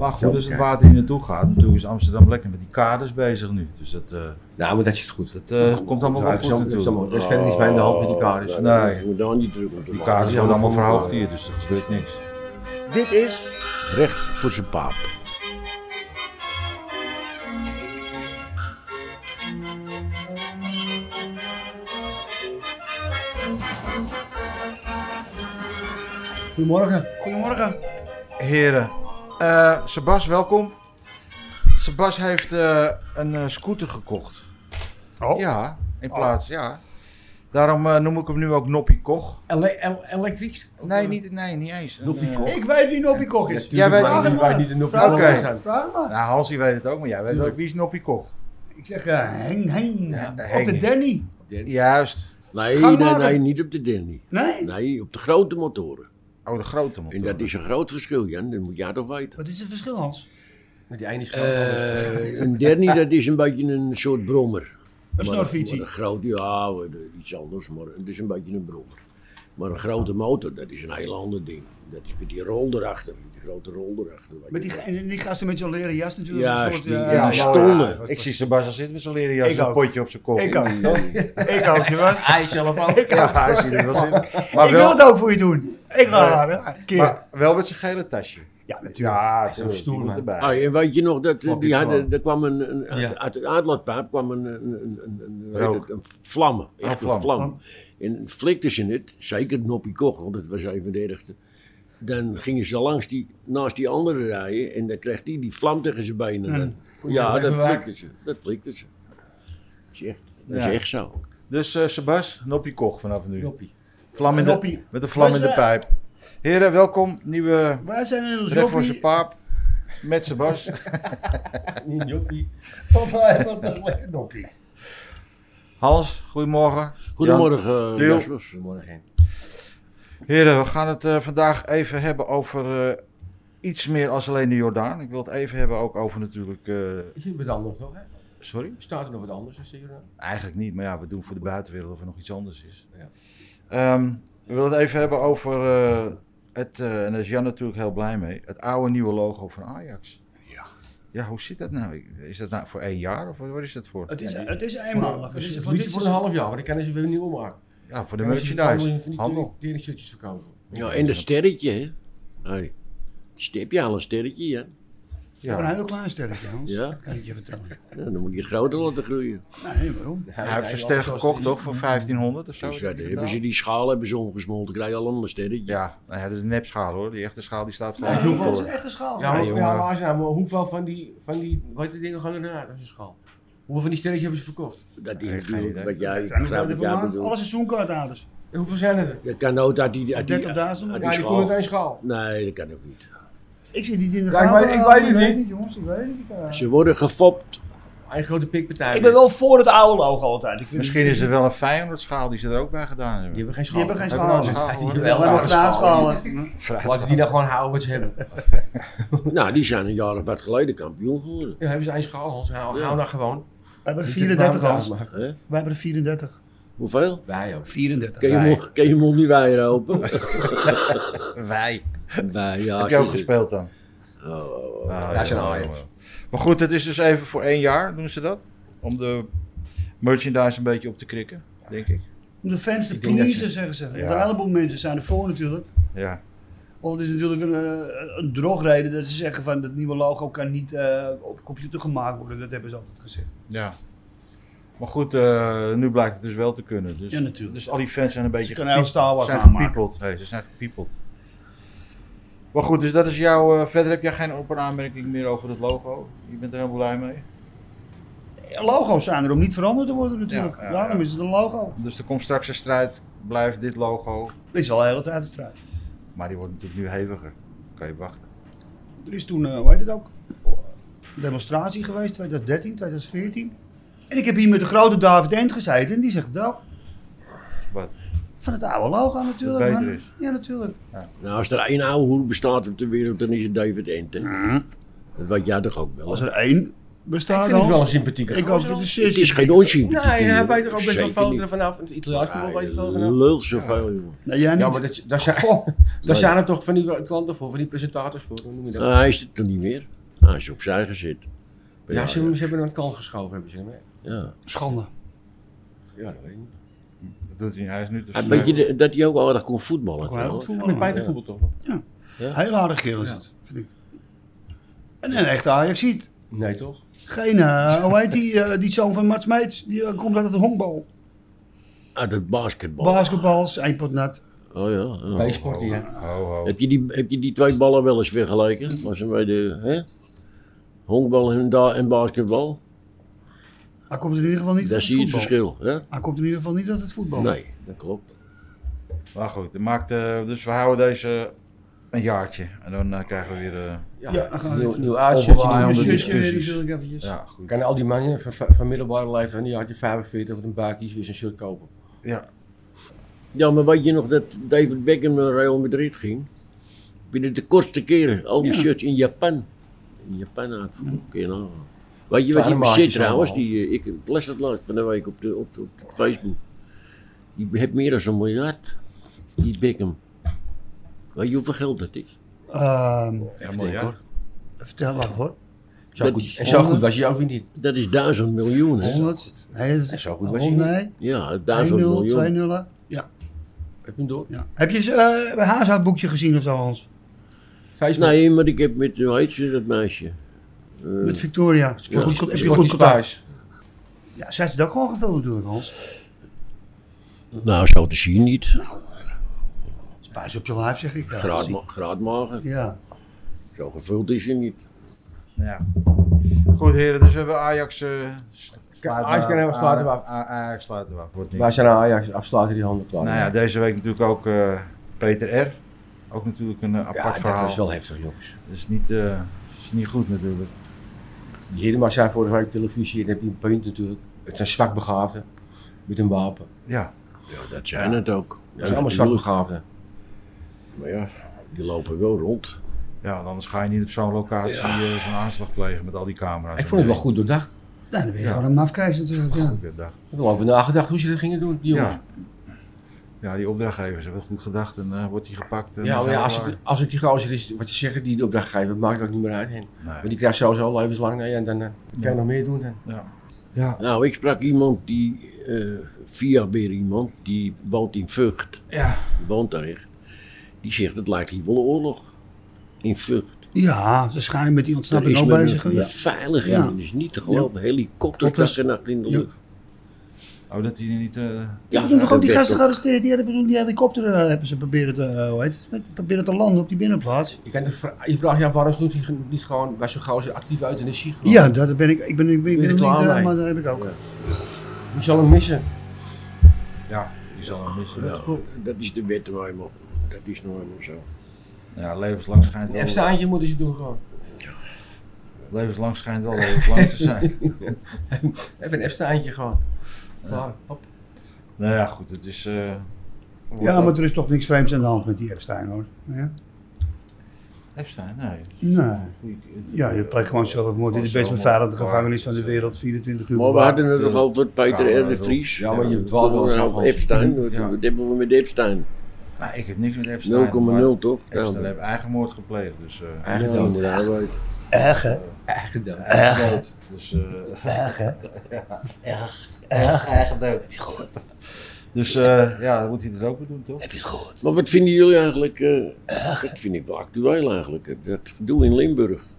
Maar goed, als het water hier naartoe gaat, natuurlijk is Amsterdam lekker met die kaders bezig nu. Dus dat, eh, Nou, maar dat is goed. dat eh, komt allemaal wel Het is goed allemaal- het is allemaal- natuurlijk. Er is verder niets bij in de hand met die dus- kaders. Nee. Daar hoeven we daar niet druk om te Die maken. kaders allemaal worden allemaal voor verhoogd elkaar. hier, dus er gebeurt niks. Dit is Recht voor zijn paap. Goedemorgen. Goedemorgen. Heren. Eh, Sebas, welkom. Sebas heeft eh, een eh, scooter gekocht. Oh. Ja, in plaats, ja. Daarom eh, noem ik hem nu ook Noppie Koch. Ele- el- elektrisch? Of, Nee, eh, niet, nee, niet eens. Een, Noppie eh, Koch. Ik weet wie Nobby Kok is. Jij weet- Wij niet- wij niet in de Vraag Oké. Noord-Holland zijn. Vraag maar. Nou, Hansie weet het ook, maar jij weet Tuurlijk. ook wie is Noppie Koch. Ik zeg eh Heng Heng. Ja, op Heng. de Danny. Juist. Nee, Gang nee, maar. nee, niet op de Denny. Nee? Nee, op de grote motoren. Oh, de grote man. En dat is een groot verschil, Jan. Dat moet jij toch weten. Wat is het verschil, Hans? Met die eindig Eh, een Denny, dat is een beetje een soort brommer. Een Maar- snorfietsie. maar Een grote, ja, we- iets anders, maar het is een beetje een brommer. Maar een grote motor, dat is een heel ander ding. Dat is met die rol erachter, die grote rol erachter. Met die, en die gasten met zo'n leren jas natuurlijk. Ja, een soort, die- eh, ja, Ja, die maar- stoelen. Ik zie Sebastian zitten met zijn leren jas Ik en een ook. potje op zijn kop. Ik ook. ik ook, je was. Hij zelf ook. Ja, hij ziet er wel zitten. Maar ik wil wel, het ook voor je doen. Ik ga haar, hè. Keer. maar wel met zijn gele tasje. ja, natuurlijk. Ja, is wel stoer, die moet man. erbij. Ah, en weet je nog, dat, eh, Fuck die is hadden, gewoon. er kwam een, een, uit- Ja. uit het uitlaatpaap kwam een, een, een, een, een, hoe heet Rook. het, een vlam, echt Ah, Oh, een vlam. vlam. En flikten ze het, zeker Noppie Koch, want dat was een van de ergste. Dan gingen ze langs die, naast die andere rijden en dan kreeg die die vlam tegen zijn benen. Kon Hmm. je Ja, hem dat even maken? flikten ze. Dat flikten ze. Dat is echt, dat is Ja. echt zo. Dus eh Sebas, Noppie Koch vanaf nu. Joppie. Vlam in de, Noppie. met de vlam in de Dus, eh, pijp. Heren, welkom. Nieuwe Wij zijn in ons Recht voor zijn jobbie. paap. Met Sebas. Niet Joppie. Papa, wat een lekker noppie. Hans, goedemorgen. Goedemorgen, eh, Theo. Jasper. Goedemorgen. Jan. Heren, we gaan het eh, vandaag even hebben over eh, iets meer als alleen de Jordaan. Ik wil het even hebben ook over natuurlijk... eh, Is het wat anders nog, hè? sorry? Staat er nog wat anders als hier dan? Eigenlijk niet, maar ja, we doen voor de buitenwereld of er nog iets anders is. Ja. Ehm, we willen het even hebben over eh, het, eh, en daar is Jan natuurlijk heel blij mee, het oude nieuwe logo van Ajax. Ja. Ja, hoe zit dat nou? Is dat nou voor één jaar of wat is dat voor? Het is, Ja, die- het is eenmalig. Het is Het voor dit liefst voor een seizoen. half jaar, maar dan kunnen ze weer een nieuwe maken. Ja, voor de Dan kunnen ze twee miljoen merchandise. Van die Handel. teringshirtjes verkopen. Ja, en dat sterretje, hè. Hey. Stip je al een sterretje, hè? Voor een Ja. heel klein sterretje, Hans. Ja. Kan ik je vertellen. Ja, dan moet je het groter laten groeien. Nee, waarom? Hij heeft een ster gekocht toch, voor 1500 of zo? Dus ja, dan hebben ze die schaal hebben ze omgesmolten, krijg je al een sterretje. Ja, nou ja, dat is een nepschaal hoor. Die echte schaal die staat voor. Nee, een dat hoek, is hoor. echt een schaal. Ja, maar, Nee, ja, jongen. maar als je nou, maar hoeveel van die, van die, wat die dingen gaan er naar als een schaal? Hoeveel van die sterretjes hebben ze verkocht? Dat Nee, is geen natuurlijk idee. wat jij, ik Zijn we begrijp er wat jij vandaan? Alle bedoelt. seizoenkaarthouders. En hoeveel zijn er? Dat kan ook dat die... Dat die, 30.000? dat die Ja, Ja, die schaal- komt uit één schaal. Nee, dat kan ook niet. Ik zie niet in de Ja, ik gaten. weet- ik weet het niet. jongens. Ik weet het niet. eh. Ze worden gefopt. Eén grote pikpartij. Ik ben wel voor het oude logo altijd. Ik vind Misschien is er wel een 500 schaal die ze er ook bij gedaan Die hebben. hebben geen schaal. Die hebben geen Hebben we nou schaal. een schaal, hoor? Die Wel hebben hebben een vraagschalen. Laten die nou gewoon houden wat ze hebben. nou, die zijn een jaar of wat geleden kampioen geworden. Ja, hebben ze één schaal, Hans. Hou, Ja. hou nou gewoon. We hebben er Niet 34 dat Hans. het maar- Hè? Wij hebben er 34. Hoeveel? Wij ook. 34. Kun je, Wij. mond- kun je mond niet wijer open? Wij. Wij, ja. Heb je ook zie je. gespeeld dan? Oh, oh, oh. Ah, Daar zijn jongen, Ajax. jongen. Maar goed, het is dus even voor één jaar, doen ze dat? Om de merchandise een beetje op te krikken, denk ik. Om de fans te Ik denk dat pleasen, zeggen ze. Want Ja. Een heleboel mensen zijn ervoor natuurlijk. Ja, Want het is natuurlijk een, eh, een drogreden dat ze zeggen van dat nieuwe logo kan niet eh, op computer gemaakt worden. Dat hebben ze altijd gezegd. ja. Maar goed, eh, nu blijkt het dus wel te kunnen. Dus, Ja, natuurlijk. Dus al die fans zijn een beetje Je kan heel Star Wars zijn aanmaken. gepiepeld. Hey, ze zijn gepiepeld. Maar goed, dus dat is jouw... eh, verder heb jij geen op- en aanmerking meer over het logo? Je bent er helemaal blij mee? Logo's zijn er om niet veranderd te worden natuurlijk. Ja, ja, Daarom ja. is het een logo. Dus er komt straks een strijd. Blijft dit logo. Dit is al de hele tijd de strijd. Maar die wordt natuurlijk nu heviger. Kan je wachten. Er is toen, eh, hoe heet het ook, een demonstratie geweest, 2013, 2014. En ik heb hier met de grote David End gezeten en die zegt wel, Wat? van het oude logo natuurlijk. beter man. is. Ja, natuurlijk. Nou, als er één oude hoer bestaat op de wereld, dan is het David Enten. Dat weet jij toch ook wel? Hm? Als hè? er één Ik bestaat vind het wel een al. sympathieke Ik hoop gozer. dat het Het is shit. geen onzin. Nee, hij Zeker weet er ook best wel niet. foto's vanaf. Het Italiaans voetbal weet er Ja, veel je vanaf. Lult zoveel, jongen. Nee, jij Ja, maar niet. dat, daar, zijn, daar zijn er toch van die klanten voor, van die presentators voor, hoe noem je dat? Ah, hij is het dan niet meer. Nou, Hij is opzij gezet. ja, ze, ze hebben hem aan het kant geschoven, hebben ze hem. hè? ja. Schande. Ja, dat weet ik niet. Dat doet hij, hij is nu te Een snel. beetje Ah, de- dat hij ook wel aardig kon voetballen. Ook wel heel goed trouwens. Met voetballen. buiten voetbal toch? wel? Heel aardig kerel is het, vind ik. En een echte Ajaxiet. Nee, toch? Geen, eh, hoe heet die, eh, die zoon van Mats Meets? Die eh, komt uit het honkbal. Uit het Ah, basketbal. Basketbal, is één pot nat. oh ja. oh. Bij sporten, ja. Ho, ho. Heb je, die, heb je die twee ballen wel eens vergeleken? Was ze bij de hè? honkbal en, da- en basketbal? Hij komt in ieder geval niet Daar uit zie je het het voetbal. verschil. Hè? Hij komt in ieder geval niet uit het voetbal. Nee, dat klopt. Maar goed, het maakt, eh, dus we houden deze een jaartje. En dan eh, krijgen we weer... eh, Ja, Ja, dan gaan we nieuw, even- nieuw Overlaai uitzicht. aan de- Shirtje weer discussies. natuurlijk eventjes. ja, goed. Kan al die mannen van, van middelbare leeftijd, die had je 45 met een baakjes weer zijn shirt kopen. Ja. Ja, maar weet je nog dat David Beckham naar Real Madrid ging? Binnen de kortste keren. Al die shirts in Japan. In Japan ah, uitvoeren. Kun je nagaan. Weet je wat Kleine die bezit maatjes trouwens? allemaal. Die, eh, ik las dat laatst van de week op, de, op, de- op de Facebook. Die heeft meer dan een miljard. Die Beckham. Weet je hoeveel geld dat is? Ehm, Ja, mooi, ja. hoor. vertel maar hoor. Zo Dat goed- is en zo goed was je ook weer niet. Dat is duizend miljoen. Hè? 100. Nee, dat is Zo goed was je Nee, Ja, 1-0, duizend miljoen. 2-0. Ja, Heb je hem door? ja. Heb je eh Haza boekje gezien of zo, Hans? Facebook. Nee, maar ik heb met, hoe heet ze, dat meisje? Eh, Met Victoria. Heb je goed- Heb je goed contact? thuis. Ja, zij is het ook gewoon gevuld natuurlijk, Hans. Nou, zo te zien niet. Nou, Spijs op je lijf, zeg ik. eh, Graadma graadmager. Ja. Zo gevuld is ze niet. Nou ja. Goed heren, dus we hebben Ajax... eh Ajax kan helemaal sluiten we af. A- Ajax sluiten we af. Wordt niet. Wij zijn aan Ajax, afsluiten die handen klaar. Nou ja, deze week natuurlijk ook eh, Peter R. Ook natuurlijk een eh, apart ja, dat verhaal. was wel heftig, jongens. Dat is niet, eh, is niet goed natuurlijk. Hierdema zei vorige week op televisie, en dan heb je een punt natuurlijk. Het zijn zwakbegaafden met een wapen. Ja, Ja, dat zijn het ook. Het Ja, zijn allemaal natuurlijk. zwakbegaafden. Maar ja, die lopen wel rond. ja want anders ga je niet op zo'n locatie eh, zo'n aanslag plegen met al die camera's. Ik vond het wel goed doordacht. Nou, dan ben je Ja. gewoon een mafkees natuurlijk. Ja. Goed gedacht. Ik heb wel over nagedacht hoe ze dat gingen doen, die jongens. Ja. ja, die opdrachtgevers hebben het goed gedacht en eh, wordt hij gepakt. En Ja, dan maar ja, zijn als, we het, als het die gozer is, wat ze zeggen, die de opdracht geven, maakt het ook niet meer uit. Hen. klaar. Maar Nee. die krijgt sowieso levenslang naar je en dan eh, kan je nog meer doen. Dan. Ja. Nou, ik sprak iemand die, eh, via weer iemand, die woont in Vught. Ja. Die woont daar echt. Die zegt, het lijkt hier wel een oorlog. In Vught. ja, ze schijnen met die Daar ontsnapping is ook men bezig. een geweest. beveiliging. Ja. Dat is niet te geloven. Helikopters Klopt, dat is- dag en nacht in de Ja. lucht. nou, Oh, dat hij niet... eh, Ja, ze dat hebben toch ook die werd gasten toch- gearresteerd. Die hebben toen die helikopter eh, hebben ze proberen te, eh, hoe heet het, proberen te landen op die binnenplaats. Je, kan toch vra- je vraagt je af, waarom doet hij gen- niet gewoon bij zo'n gozer actief euthanasie? gewoon? Ja, dat ben ik. Ik ben, ik ben, Ben ik ben je niet, klaar eh, mee? maar dat heb ik ook. Je zal hem missen. ja, die zal hem missen. Ja, Ja, dat is de wet nou eenmaal. Dat is nou eenmaal zo. levenslang schijnt Een wel, staantje moeten ze doen gewoon. levenslang, schijnt wel levenslang te zijn. Even een F-staantje gewoon. Klaar. Hop. Nou ja, goed, het is. eh, Ja, maar er is toch niks vreemds aan de hand met die Epstein hoor. Ja? Epstein, nee. Nee. Goeie- Ja, je pleegt gewoon zelfmoord. Dit is de best Gewoon beveiligde zelfmoord. gevangenis van de wereld, 24 uur. Maar we bewaakt. hadden het toch over Peter R. Camera, de zo. Vries. Ja, maar je dwaalt Toch wel eens wel af, over Hans. Epstein. Wat Ja. wat hebben we met Epstein? 0,0 Nou, ik heb niks met Epstein. maar toch? Epstein heeft eigenmoord gepleegd, dus. eh, Eigen Ja, dood. maar daar weet- Erg hè? Eigen dood. eigen dood. Dus. eh, Erg hè? eigen dood. Dus eh, ja, dan moet hij het ook weer doen, toch? Heb je het gehoord? Maar wat vinden jullie eigenlijk? eh, dat vind ik wel actueel eigenlijk. Dat gedoe in Limburg. Het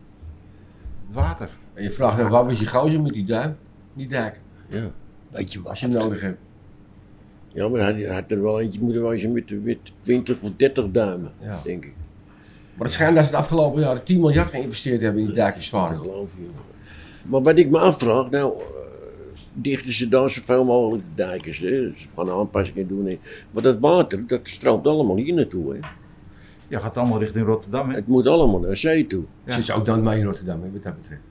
water. En je vraagt dan, waar was je gozer met die duim? Die dijk. Ja. Weet je Als je hem nodig hebt. Ja, maar hij had er wel eentje moeten wijzen met, met 20 of 30 duimen, Ja. denk ik. Maar het schijnt dat ze het afgelopen jaar 10 miljard geïnvesteerd hebben in die dijk in Te Zwaarden. geloven, jongen. Maar wat ik me afvraag, nou, eh, dichten ze dan zoveel mogelijk de dijken. Ze ze gaan aanpassingen doen. hè. Maar dat water, dat stroomt allemaal hier naartoe. Hè. Ja, gaat allemaal richting Rotterdam, hè? Het moet allemaal naar zee toe. Ja. Zit ze ook dan mee in Rotterdam, hè, wat dat betreft.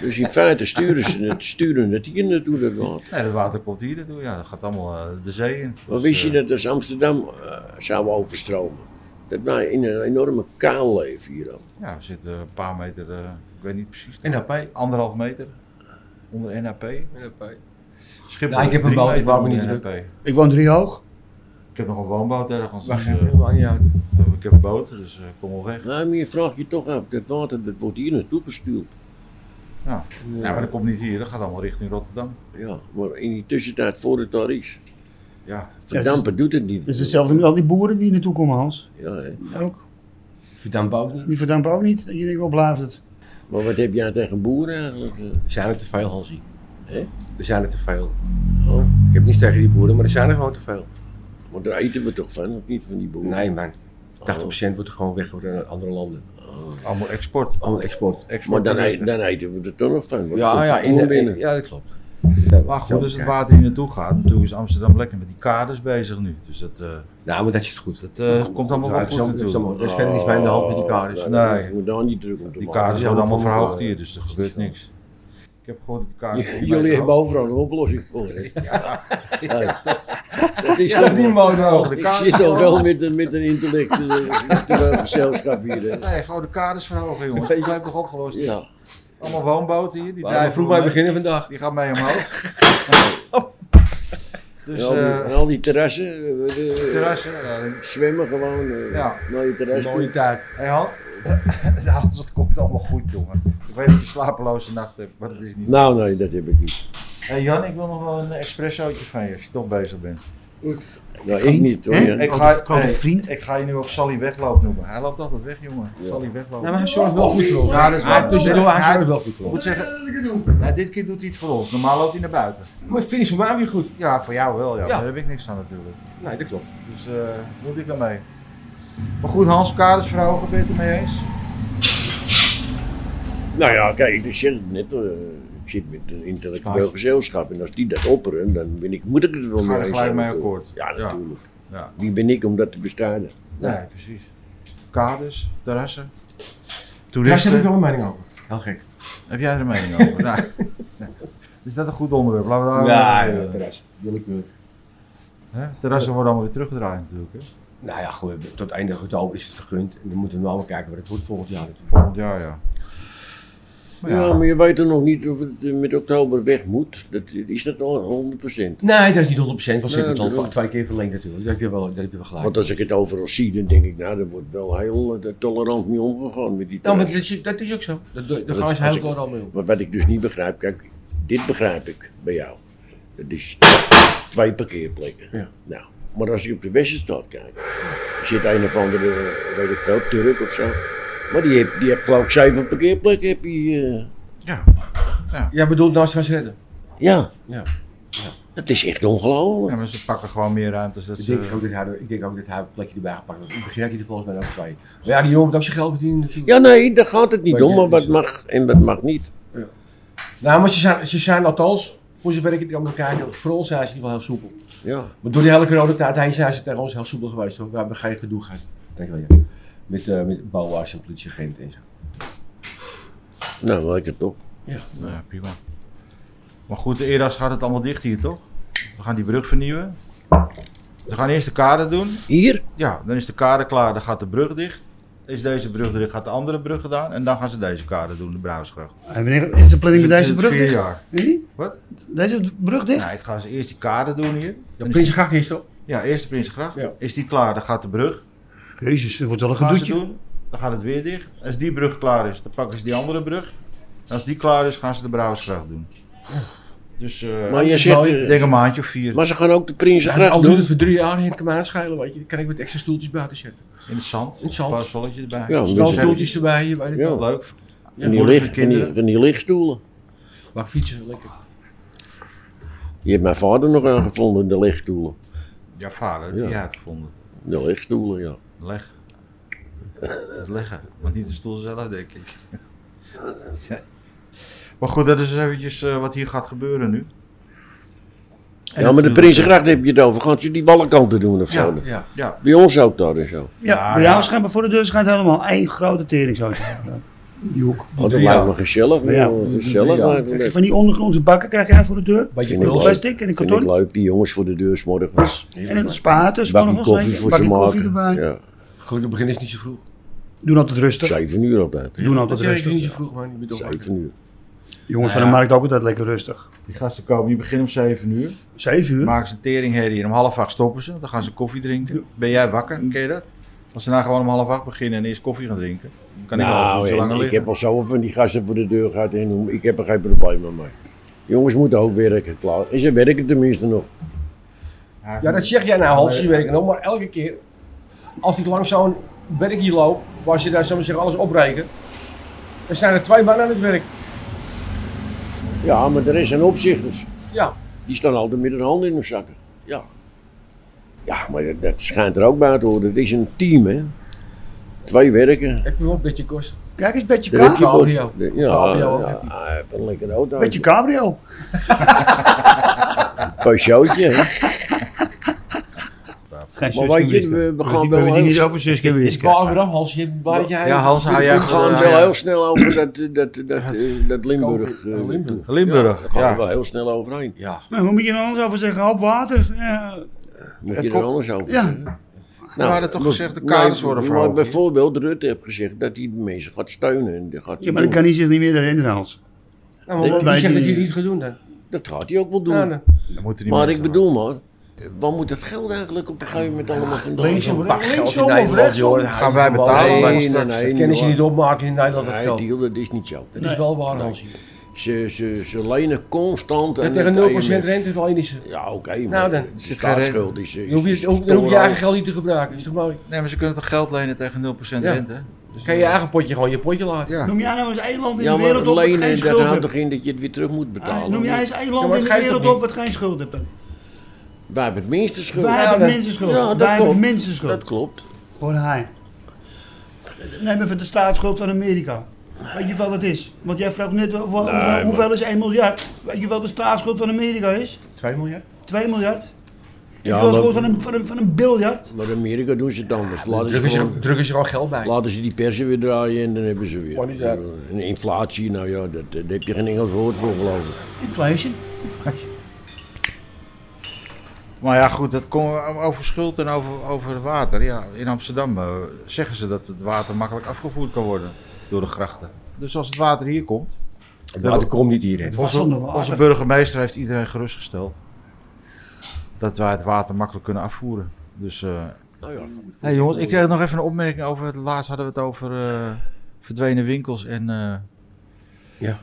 Dus in feite sturen ze het, sturen het hier naartoe, dat water. Nee, dat water komt hier naartoe. Ja, dat gaat allemaal eh, de zee in. Maar Dus, wist je eh, dat als Amsterdam eh, zou overstromen, dat wij in een enorme kaal leven hier al. Ja, we zitten een paar meter, eh, ik weet niet precies. NHP. Anderhalf meter onder NAP. NHP. Schiphol Nou, ik heb drie een boot, ik meter wou me onder niet NAP. Ik woon drie hoog. Ik heb nog een woonboot ergens. Wacht Dus, even, eh, helemaal niet uit. ik heb een boot, dus eh, kom wel weg. Ja, Nou, maar je vraagt je toch af, dat water dat wordt hier naartoe gestuurd. Ja. ja, maar dat komt niet hier, dat gaat allemaal richting Rotterdam. Ja, maar in die tussentijd, voor het daar is, Ja, verdampen doet het niet. Dat is hetzelfde met al die boeren die hier naartoe komen, Hans. Ja, hè. Ook. Verdamp ook niet. Die verdampen ook niet. En je denkt, wel blijft het? Maar wat heb jij tegen boeren eigenlijk? eh? Er zijn er te veel, Hansie. Hè? Er zijn er te veel. Oh, Ik heb niets tegen die boeren, maar er zijn er gewoon te veel. maar daar eten we toch van, of niet, van die boeren? Nee, man. 80% wordt er gewoon weggevoerd naar andere landen. allemaal export. Allemaal export. Maar export dan, e- dan eten we er toch nog van. Wat komt Ja, er ja, in gewoon de, binnen? ja, dat klopt. dus Ja, Maar ja, goed, als het ja. water hier naartoe gaat, natuurlijk is Amsterdam lekker met die kaders bezig nu. Dus dat, eh, Nou, maar dat zit goed. dat eh, komt allemaal Ja, wel het is goed allemaal- Oh. het is natuurlijk. allemaal- Er is verder niets bij in de hand met die kaders. Oh, nou, Nee. Je moet daar niet druk om te Die maken. kaders is worden allemaal allemaal voor verhoogd elkaar, hier, dus er gebeurt niks. Ik heb gehoord dat die kaders... J- volgens mij Jullie hebben verhoogd- overal een oplossing voor. hè? Ja, dat is toch die mono. Ik zit al wel met een, met een eh, intellectueel gezelschap hier. hè. Nee, gewoon de kaders verhogen, jongens. Dat blijft toch opgelost? Ja. Allemaal woonboten hier, die Ja, drijven vroeg mee. maar beginnen vandaag. Die gaan mee omhoog. Dus en, al Oh. die, en eh al die terrassen, eh, eh, terrassen. eh, zwemmen gewoon. eh, Ja. Naar je terras toe. Mooie taak. Hey Han, Hans, het komt allemaal goed, jongen. Ik weet dat je slapeloze nacht hebt, maar dat is niet. Nou, nee, dat heb ik niet. Hey Jan, ik wil nog wel een espressootje van je, als je toch bezig bent. Nou, ik Vriend, niet hoor. hè? ja. Ik Oh, ga, die grote hey, vriend. ik ga je nu ook Sally Wegloop noemen. Hij loopt altijd weg, jongen. Ja. Sally Wegloop. Nou, maar hij zorgt wel goed voor dus ons. Ja, dat is waar. Hij- Tussendoor, hij Hij- zorgt wel goed voor ik ons. moet zeggen, nou, dit keer doet hij het voor ons. Normaal loopt hij naar buiten. Maar finish voor mij weer goed. Ja, voor jou wel, ja. Ja. Daar heb ik niks aan natuurlijk. Nee, dat klopt. Dus eh moet ik ermee. Maar goed, Hans, kaders verhogen, ben je het ermee eens? Nou ja, kijk, ik zeg het net. eh, ik zit met een intellectueel gezelschap. En als die dat opperen, dan ben ik, moet ik het wel Ga mee er eens gelijk mee zijn. akkoord. Ja, Ja. natuurlijk. Ja. Wie ben ik om dat te bestrijden? Nee, precies. Kaders, terrassen, Daar heb ik toeristen. wel een mening over. Heel gek. Heb jij er een mening over? nou, nee. is dat een goed onderwerp? Laten we daar over hebben. terras. Willekeur. Hè? Terrassen worden allemaal weer teruggedraaid natuurlijk. Hè? Nou ja, goed, tot het einde oktober is het vergund. En dan moeten we allemaal kijken wat het wordt volgend jaar natuurlijk. Volgend jaar, ja. Maar Ja. ja, maar je weet er nog niet of het eh, met oktober weg moet. Dat, eh, is dat al 100%? Nee, dat is niet 100% van Nee, Sint-Anton. daarom. twee keer verlengd natuurlijk. Daar heb je wel, daar heb je wel gelijk. Want als ik het overal zie, dan denk ik, nou, er wordt wel heel eh, tolerant mee omgegaan met die Nou, maar terrassen. dat is, dat is ook zo. Dat, dat, daar Dat gaan is- ze als heel ik- door allemaal mee om. Maar wat ik dus niet begrijp, kijk, dit begrijp ik bij jou. Dat is twee parkeerplekken. Ja. Nou, maar als je op de Westenstad kijkt, er zit een of andere, weet ik veel, Turk of zo. Maar die heeft, die heeft geloof ik zeven parkeerplekken. Heb je, eh, Jij bedoelt naast van redden? ja. Ja. dat is echt ongelooflijk. Ja, maar ze pakken gewoon meer ruimte. Dus dat Ik ze, denk, ook dat hij, er- ik denk ook dat hij een plekje erbij gepakt heeft. In het begin had hij er volgens mij ook twee. Maar ja, die jongen moet ook zijn geld verdienen natuurlijk. Ja, nee, daar gaat het niet Maar om, je- maar wat is- mag en wat mag niet. Nou, maar ze zijn, ze zijn althans, voor zover ik het kan bekijken, vooral zijn ze in ieder geval heel soepel. Ja. Maar door die hele coronatijd heen zijn ze tegen ons heel soepel geweest hoor. We hebben geen gedoe gehad. Denk wel ja. Met, eh met bouwwaars en politieagenten en zo. Nou, lijkt het toch. Ja, prima. Maar goed, de Eras gaat het allemaal dicht hier, toch? We gaan die brug vernieuwen. We gaan eerst de kader doen. Hier? Ja, dan is de kade klaar, dan gaat de brug dicht. Is deze brug dicht, gaat de andere brug gedaan. En dan gaan ze deze kade doen, de Bruinsgracht. En wanneer is de Dus planning met het deze is brug vier dicht? jaar. Weet je? Wat? Deze brug dicht? Nou, ik ga ze eerst die kade doen hier. Ja, Prinsengracht is toch? Ja, eerst de Prinsengracht. Ja. Is die klaar, dan gaat de brug. Jezus, dat wordt wel een Gaan ze gedoetje. doen, dan gaat het weer dicht. Als die brug klaar is, dan pakken ze die andere brug. En als die klaar is, gaan ze de Brouwersgracht doen. Dus eh, Maar je ik zegt, denk een maandje of vier Maar ze gaan ook de Prinsengracht Al doet doen. het voor drie jaar, het kan mij schelen, weet je. Dan kan ik wat extra stoeltjes buiten zetten. in het zand. In het Een zand. paar zolletje erbij. Ja, Een een beetje- Stoeltjes erbij, je weet het Ja. wel. Leuk. Van die, licht, van, die, kinderen. van die lichtstoelen. Waar fietsen, lekker. Je hebt mijn vader nog aangevonden, de lichtstoelen. Ja, vader, heeft Ja. die uitgevonden. De lichtstoelen, ja. Leg. Het leggen. Maar niet de stoel zelf, denk ik. Ja. Maar goed, dat is eventjes eh, wat hier gaat gebeuren nu. En ja, maar de natuurlijk- Prinsengracht heb je het over. Gaan ze die wallenkanten doen of Ja. zo? Ja. Ja, Bij ons ook daar en zo. Ja, bij ja. jou schijnt voor de deur schijnt helemaal één grote tering zo. Die hoek. Oh, dat drie lijkt jaar. me gezellig. Ja. joh. gezellig Ja. lijkt me dat. Van die ondergrondse bakken krijg jij voor de deur. Wat je Vind ik wil. leuk. Plastic en een Vind ik karton. leuk, die jongens voor de deur 's morgens. En een spaat, dus Bakje nog wel koffie eens voor ze maken. koffie erbij. Ja. Gelukkig begin is niet zo vroeg. Doen altijd rustig. Zeven uur altijd. Doen altijd Natuurlijk nou rustig. niet zo vroeg, man. Je bent toch Zeven uur. Jongens van de markt ook altijd lekker rustig. Die gasten komen, die beginnen om 7 uur. Zeven uur. Maken ze een teringherrie en om half acht stoppen ze. Dan gaan ze koffie drinken. Ben jij wakker? Ken je dat? Als ze nou gewoon om half acht beginnen en eerst koffie gaan drinken, dan kan ik al Nou, veel en langer ik liggen. heb al zoveel van die gasten voor de deur gehad en hoe- ik heb er geen probleem mee. Jongens moeten ook werken, klaar. En ze werken tenminste nog. Ja, dat zeg jij nou al drie weken nog, maar elke keer als ik langs zo'n werk hier loop, waar ze daar zomaar zeggen alles opbreken, dan staan er twee man aan het werk. Ja, maar er zijn opzichters. Ja. Die staan altijd met hun hand in hun zakken. Ja. Ja, maar dat, dat schijnt er ook bij te horen. Het is een team, hè. Twee werken. Heb je wel een beetje kost? Kijk eens, bedje Dan heb cabrio. ook- Cabrio. de- Ja, Cabrio ook ja, heb je. hij heeft een lekkere auto. Bedje cabrio. Peugeotje, hè. Geen Maar weet je, we, we gaan wel die niet heel, over Suske en Ik wou weer af, Hans. Je hebt waar jij- Ja, Hans, hou jij we gaan Ja, wel ja. heel snel over dat, dat, dat, dat, eh, dat Limburg. Covid, eh, eh, Limburg. Limburg, Daar gaan ja. we wel heel snel overheen. Ja, Nou, hoe moet je er anders over zeggen? Hoop water. Ja. Moet Het je komt- er anders over Ja. zeggen? Nou, we hadden toch gezegd de kaders worden maar, maar verhoogd. bijvoorbeeld Rutte heeft gezegd dat hij mensen gaat steunen. En die gaat hij Ja, maar dat doen. kan hij zich niet meer herinneren, Hans. Nou, maar Ik- wie zegt dat die- je het niet gaat doen dan? Dat gaat hij ook wel doen. Ja, dan- dan moeten die maar mensen ik bedoel maar, waar moet dat geld eigenlijk op een gegeven moment allemaal vandaan? Zo'n komen? pak geld in of Nederland, rechtsom? joh, dan hou je wij van wel. betalen? Nee, allemaal nee, nee. straks. nee Dat kennen ze hoor. niet opmaken in Nederland, dat Nee, geld. deal, dat is niet zo. Dat is wel waar, Hans. Ze, ze, ze lenen constant aan Dat tegen het 0% IMF. rente alleen is ze. Ja, oké, maar Nou, dan- de staatsschuld is... is Dan hoef is je, hoef- dan hoef je je torenhoog. eigen geld niet te gebruiken. Is toch mooi? Nee, maar ze kunnen toch geld lenen tegen 0% Ja. rente? Dus Kan je eigen potje gewoon je potje laten. Ja. Noem jij nou eens één land in Ja, de wereld maar op wat geen lenen, dat schuld houdt hebt? toch in dat je het weer terug moet Ah, betalen? Noem jij eens één land maar in het de geeft wereld toch op wat geen schuld hebt? Wij hebben het minste schuld. Wij dan- hebben mensen schuld. Ja, dat Wij hebben klopt. mensen Dat schuld. klopt. Hoor hij. Neem even de staatsschuld van Amerika. Weet je wel wat het is? Want jij vraagt net wel- wel- Nee, hoeveel- maar- hoeveel is 1 miljard? Weet je wel de staatsschuld van Amerika is? 2 miljard? 2 miljard? Ja, Ja, je wel schuld maar, van een, van, een, van een biljard? maar in Amerika doen ze het anders. Laten ze, Drukken ze, gewoon, drukken ze gewoon geld bij. laten ze die persen weer draaien en dan hebben ze Oh, niet weer. uit. En inflatie, nou ja, dat, daar heb je geen Engels woord voor geloof ik. Inflation. Inflation. Maar ja, goed, dat komen we over schuld en over, over water. Ja, in Amsterdam eh, zeggen ze dat het water makkelijk afgevoerd kan worden door de grachten. Dus als het water hier komt. Maar komt niet hierheen. was Onze, zonder water. onze burgemeester heeft iedereen gerustgesteld. Dat wij het water makkelijk kunnen afvoeren. Dus. eh Nou ja, hey jongens, ik kreeg nog even een opmerking over. Het laatst hadden we het over eh, verdwenen winkels en. eh, Ja.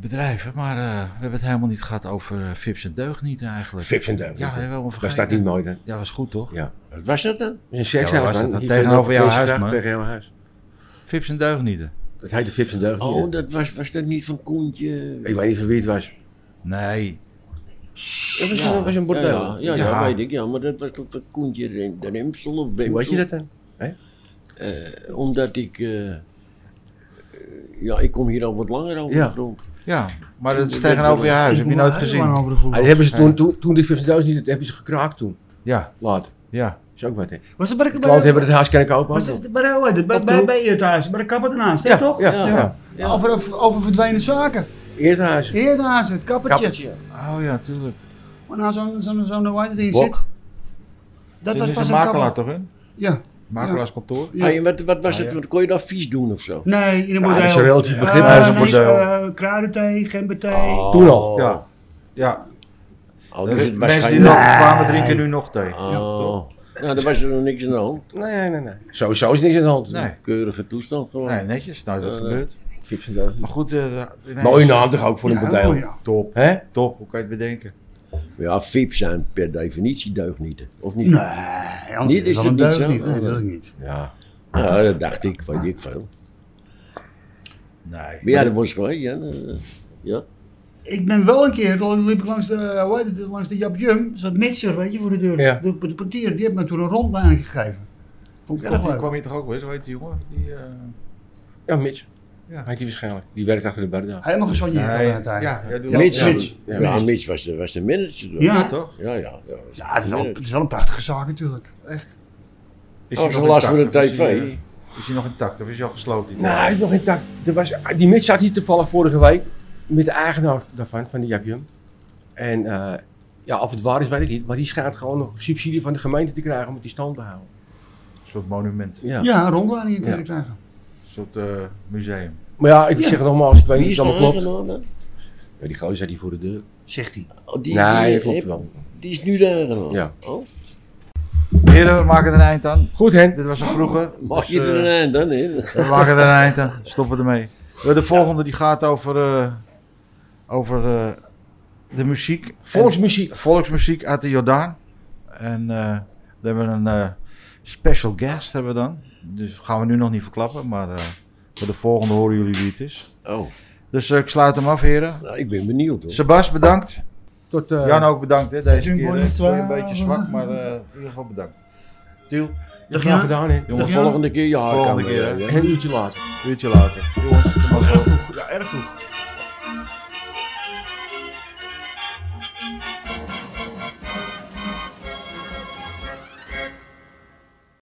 Bedrijven, maar eh, we hebben het helemaal niet gehad over eh, Vips en deugnieten eigenlijk. Vips en deugnieten. Ja, helemaal vergeten. Dat staat niet mooi dan. Ja, was goed toch? wat was dat dan? Een Ja, maar sekshuis was man. dat Hier dan tegenover jouw huis, Prinsengracht man? Tegen jouw huis. Vips en deugnieten. Dat heette Vips en Deugd. Oh, dat was, was dat niet van Koentje? Ik weet niet van wie het was. Nee. Dat was, dat was een Ja, bordel. ja, ja, Ja. weet ik. Ja, maar dat was toch van Koentje Rem- de Remsel of Hoe Bremsel? weet je dat dan? Eh, omdat ik... eh, eh, ja, ik kom hier al wat langer over Ja. de grond. Ja, maar dat is tegenover je huis. Heb je nooit gezien? Ah, die hebben ze toen, toen, toen die Vips en Deugd niet, dat hebben ze gekraakt toen. Ja, Laat. ja. Is ook wat hè. Was het bij de Klant hebben het huis kunnen kopen. ook was nog. het bij, hoe heet het? bij, Op de bij, hoek. bij Eerthuizen, bij de kapper ernaast, hè, Ja, toch? ja, ja. Over, over verdwenen zaken. Eerder huis. Eerthuizen, het kappertje. Kappertje. Oh ja, tuurlijk. Maar nou, zo'n zo, zo, zo, waar erin Bok. zit. Dat Dat was is pas een een makelaar kapper. toch in? Ja. Makelaarskantoor. Ja. Hey, en wat, wat Ah, was het? Wat, kon je dat vies doen of zo? Nee, in een Ja, bordel. dat is een relatief begrip. Eh, Ja, dat is een nee, bordel. eh, kruidenthee, gemberthee. Ah. Toen al. Ja. Ja, Oh, de dus het was mensen geen... die nog kwamen drinken nu nog thee. Oh. Ja, toch? Nou, daar was er nog niks aan de hand. Nee, nee, nee. Sowieso is niks aan de hand. Nee. Keurige toestand gewoon. Nee, netjes. Nou, dat Eh, nou. gebeurt. Vips en Deugd. Maar goed, eh, da- nee. Mooie naam toch ook voor een Ja, bordel. oh ja. Top, Hè? top. Hoe kan je het bedenken? Ja, vips zijn per definitie deugnieten. Of niet? Nee, anders Niet, is wel het een niet deugd zo? niet. Nee, dat wil ik niet. Ja. Ja, dat dacht ik, weet ik veel. Nee. Maar ja, dat was gelijk, ja. eh, ja. Ik ben wel een keer, toen liep ik langs de, eh, hoe heet het, langs de Jap Jum, zat Mitser, weet je, voor de deur. Ja. De, de portier, die heeft me toen een rondbaan gegeven. Vond ik Ja, erg die leuk. kwam hier toch ook wel eens? Hoe heet die jongen? Die, eh, Ja, Mitch. Ja. Heet die waarschijnlijk. Die werkt achter de bar daar. Helemaal gesonjeerd nee, ja, uiteindelijk. ja, die Ja, loopt- Mitch. ja, Mitch. Ja, maar Mitch was de, was de manager. toch? Ja. toch? Ja, ja. ja. Ja, het is, wel, het is wel een prachtige zaak natuurlijk. Echt. Is Oh, hij ze nog last voor de intact of is hij, tv. eh, Is hij nog intact of is hij al gesloten? Nou, hij is nog intact. Er was, die Mitch zat hier toevallig vorige week met de eigenaar daarvan, van die Japium. En eh, ja, of het waar is, weet ik niet. Maar die schijnt gewoon nog subsidie van de gemeente te krijgen om het in stand te houden. Een soort soort monument. Ja. Ja, een rondleiding in Ja. kunnen krijgen. Een soort eh, museum. Maar ja, ik zeg het nogmaals, ik weet Wie niet is of de het allemaal klopt. eigenaar dan? Ja, die gozer die voor de deur. Zegt hij. Oh, die, nee, die, dat klopt wel. die is nu de eigenaar. Ja. Oh. Heren, we maken er een eind aan. Goed, Hen. Dit was een vroege. Mag Dus, je er eh, een eind aan, hè? We maken er een eind aan. Stoppen ermee. Eh, De volgende die gaat over, eh, over eh, de muziek. Volksmuziek. En- volksmuziek uit de Jordaan. En eh daar hebben we een eh, special guest hebben we dan. Dus gaan we nu nog niet verklappen, maar eh, voor de volgende horen jullie wie het is. Oh, Dus eh, ik sluit hem af, heren. nou, ik ben benieuwd hoor. Sebas, bedankt. Tot, eh, Jan ook bedankt. Hè, deze Zet hun keer bonnie eh, vond je een zwaar. beetje zwak, maar eh, in ieder geval bedankt. Tiel, Dat graag nou gedaan, hè. Jongen, Ja. volgende keer je haar Volgende kan, keer, eh, hè. ja. En een uurtje later. uurtje later. Jongens, tot maar zo. Ja, erg vroeg.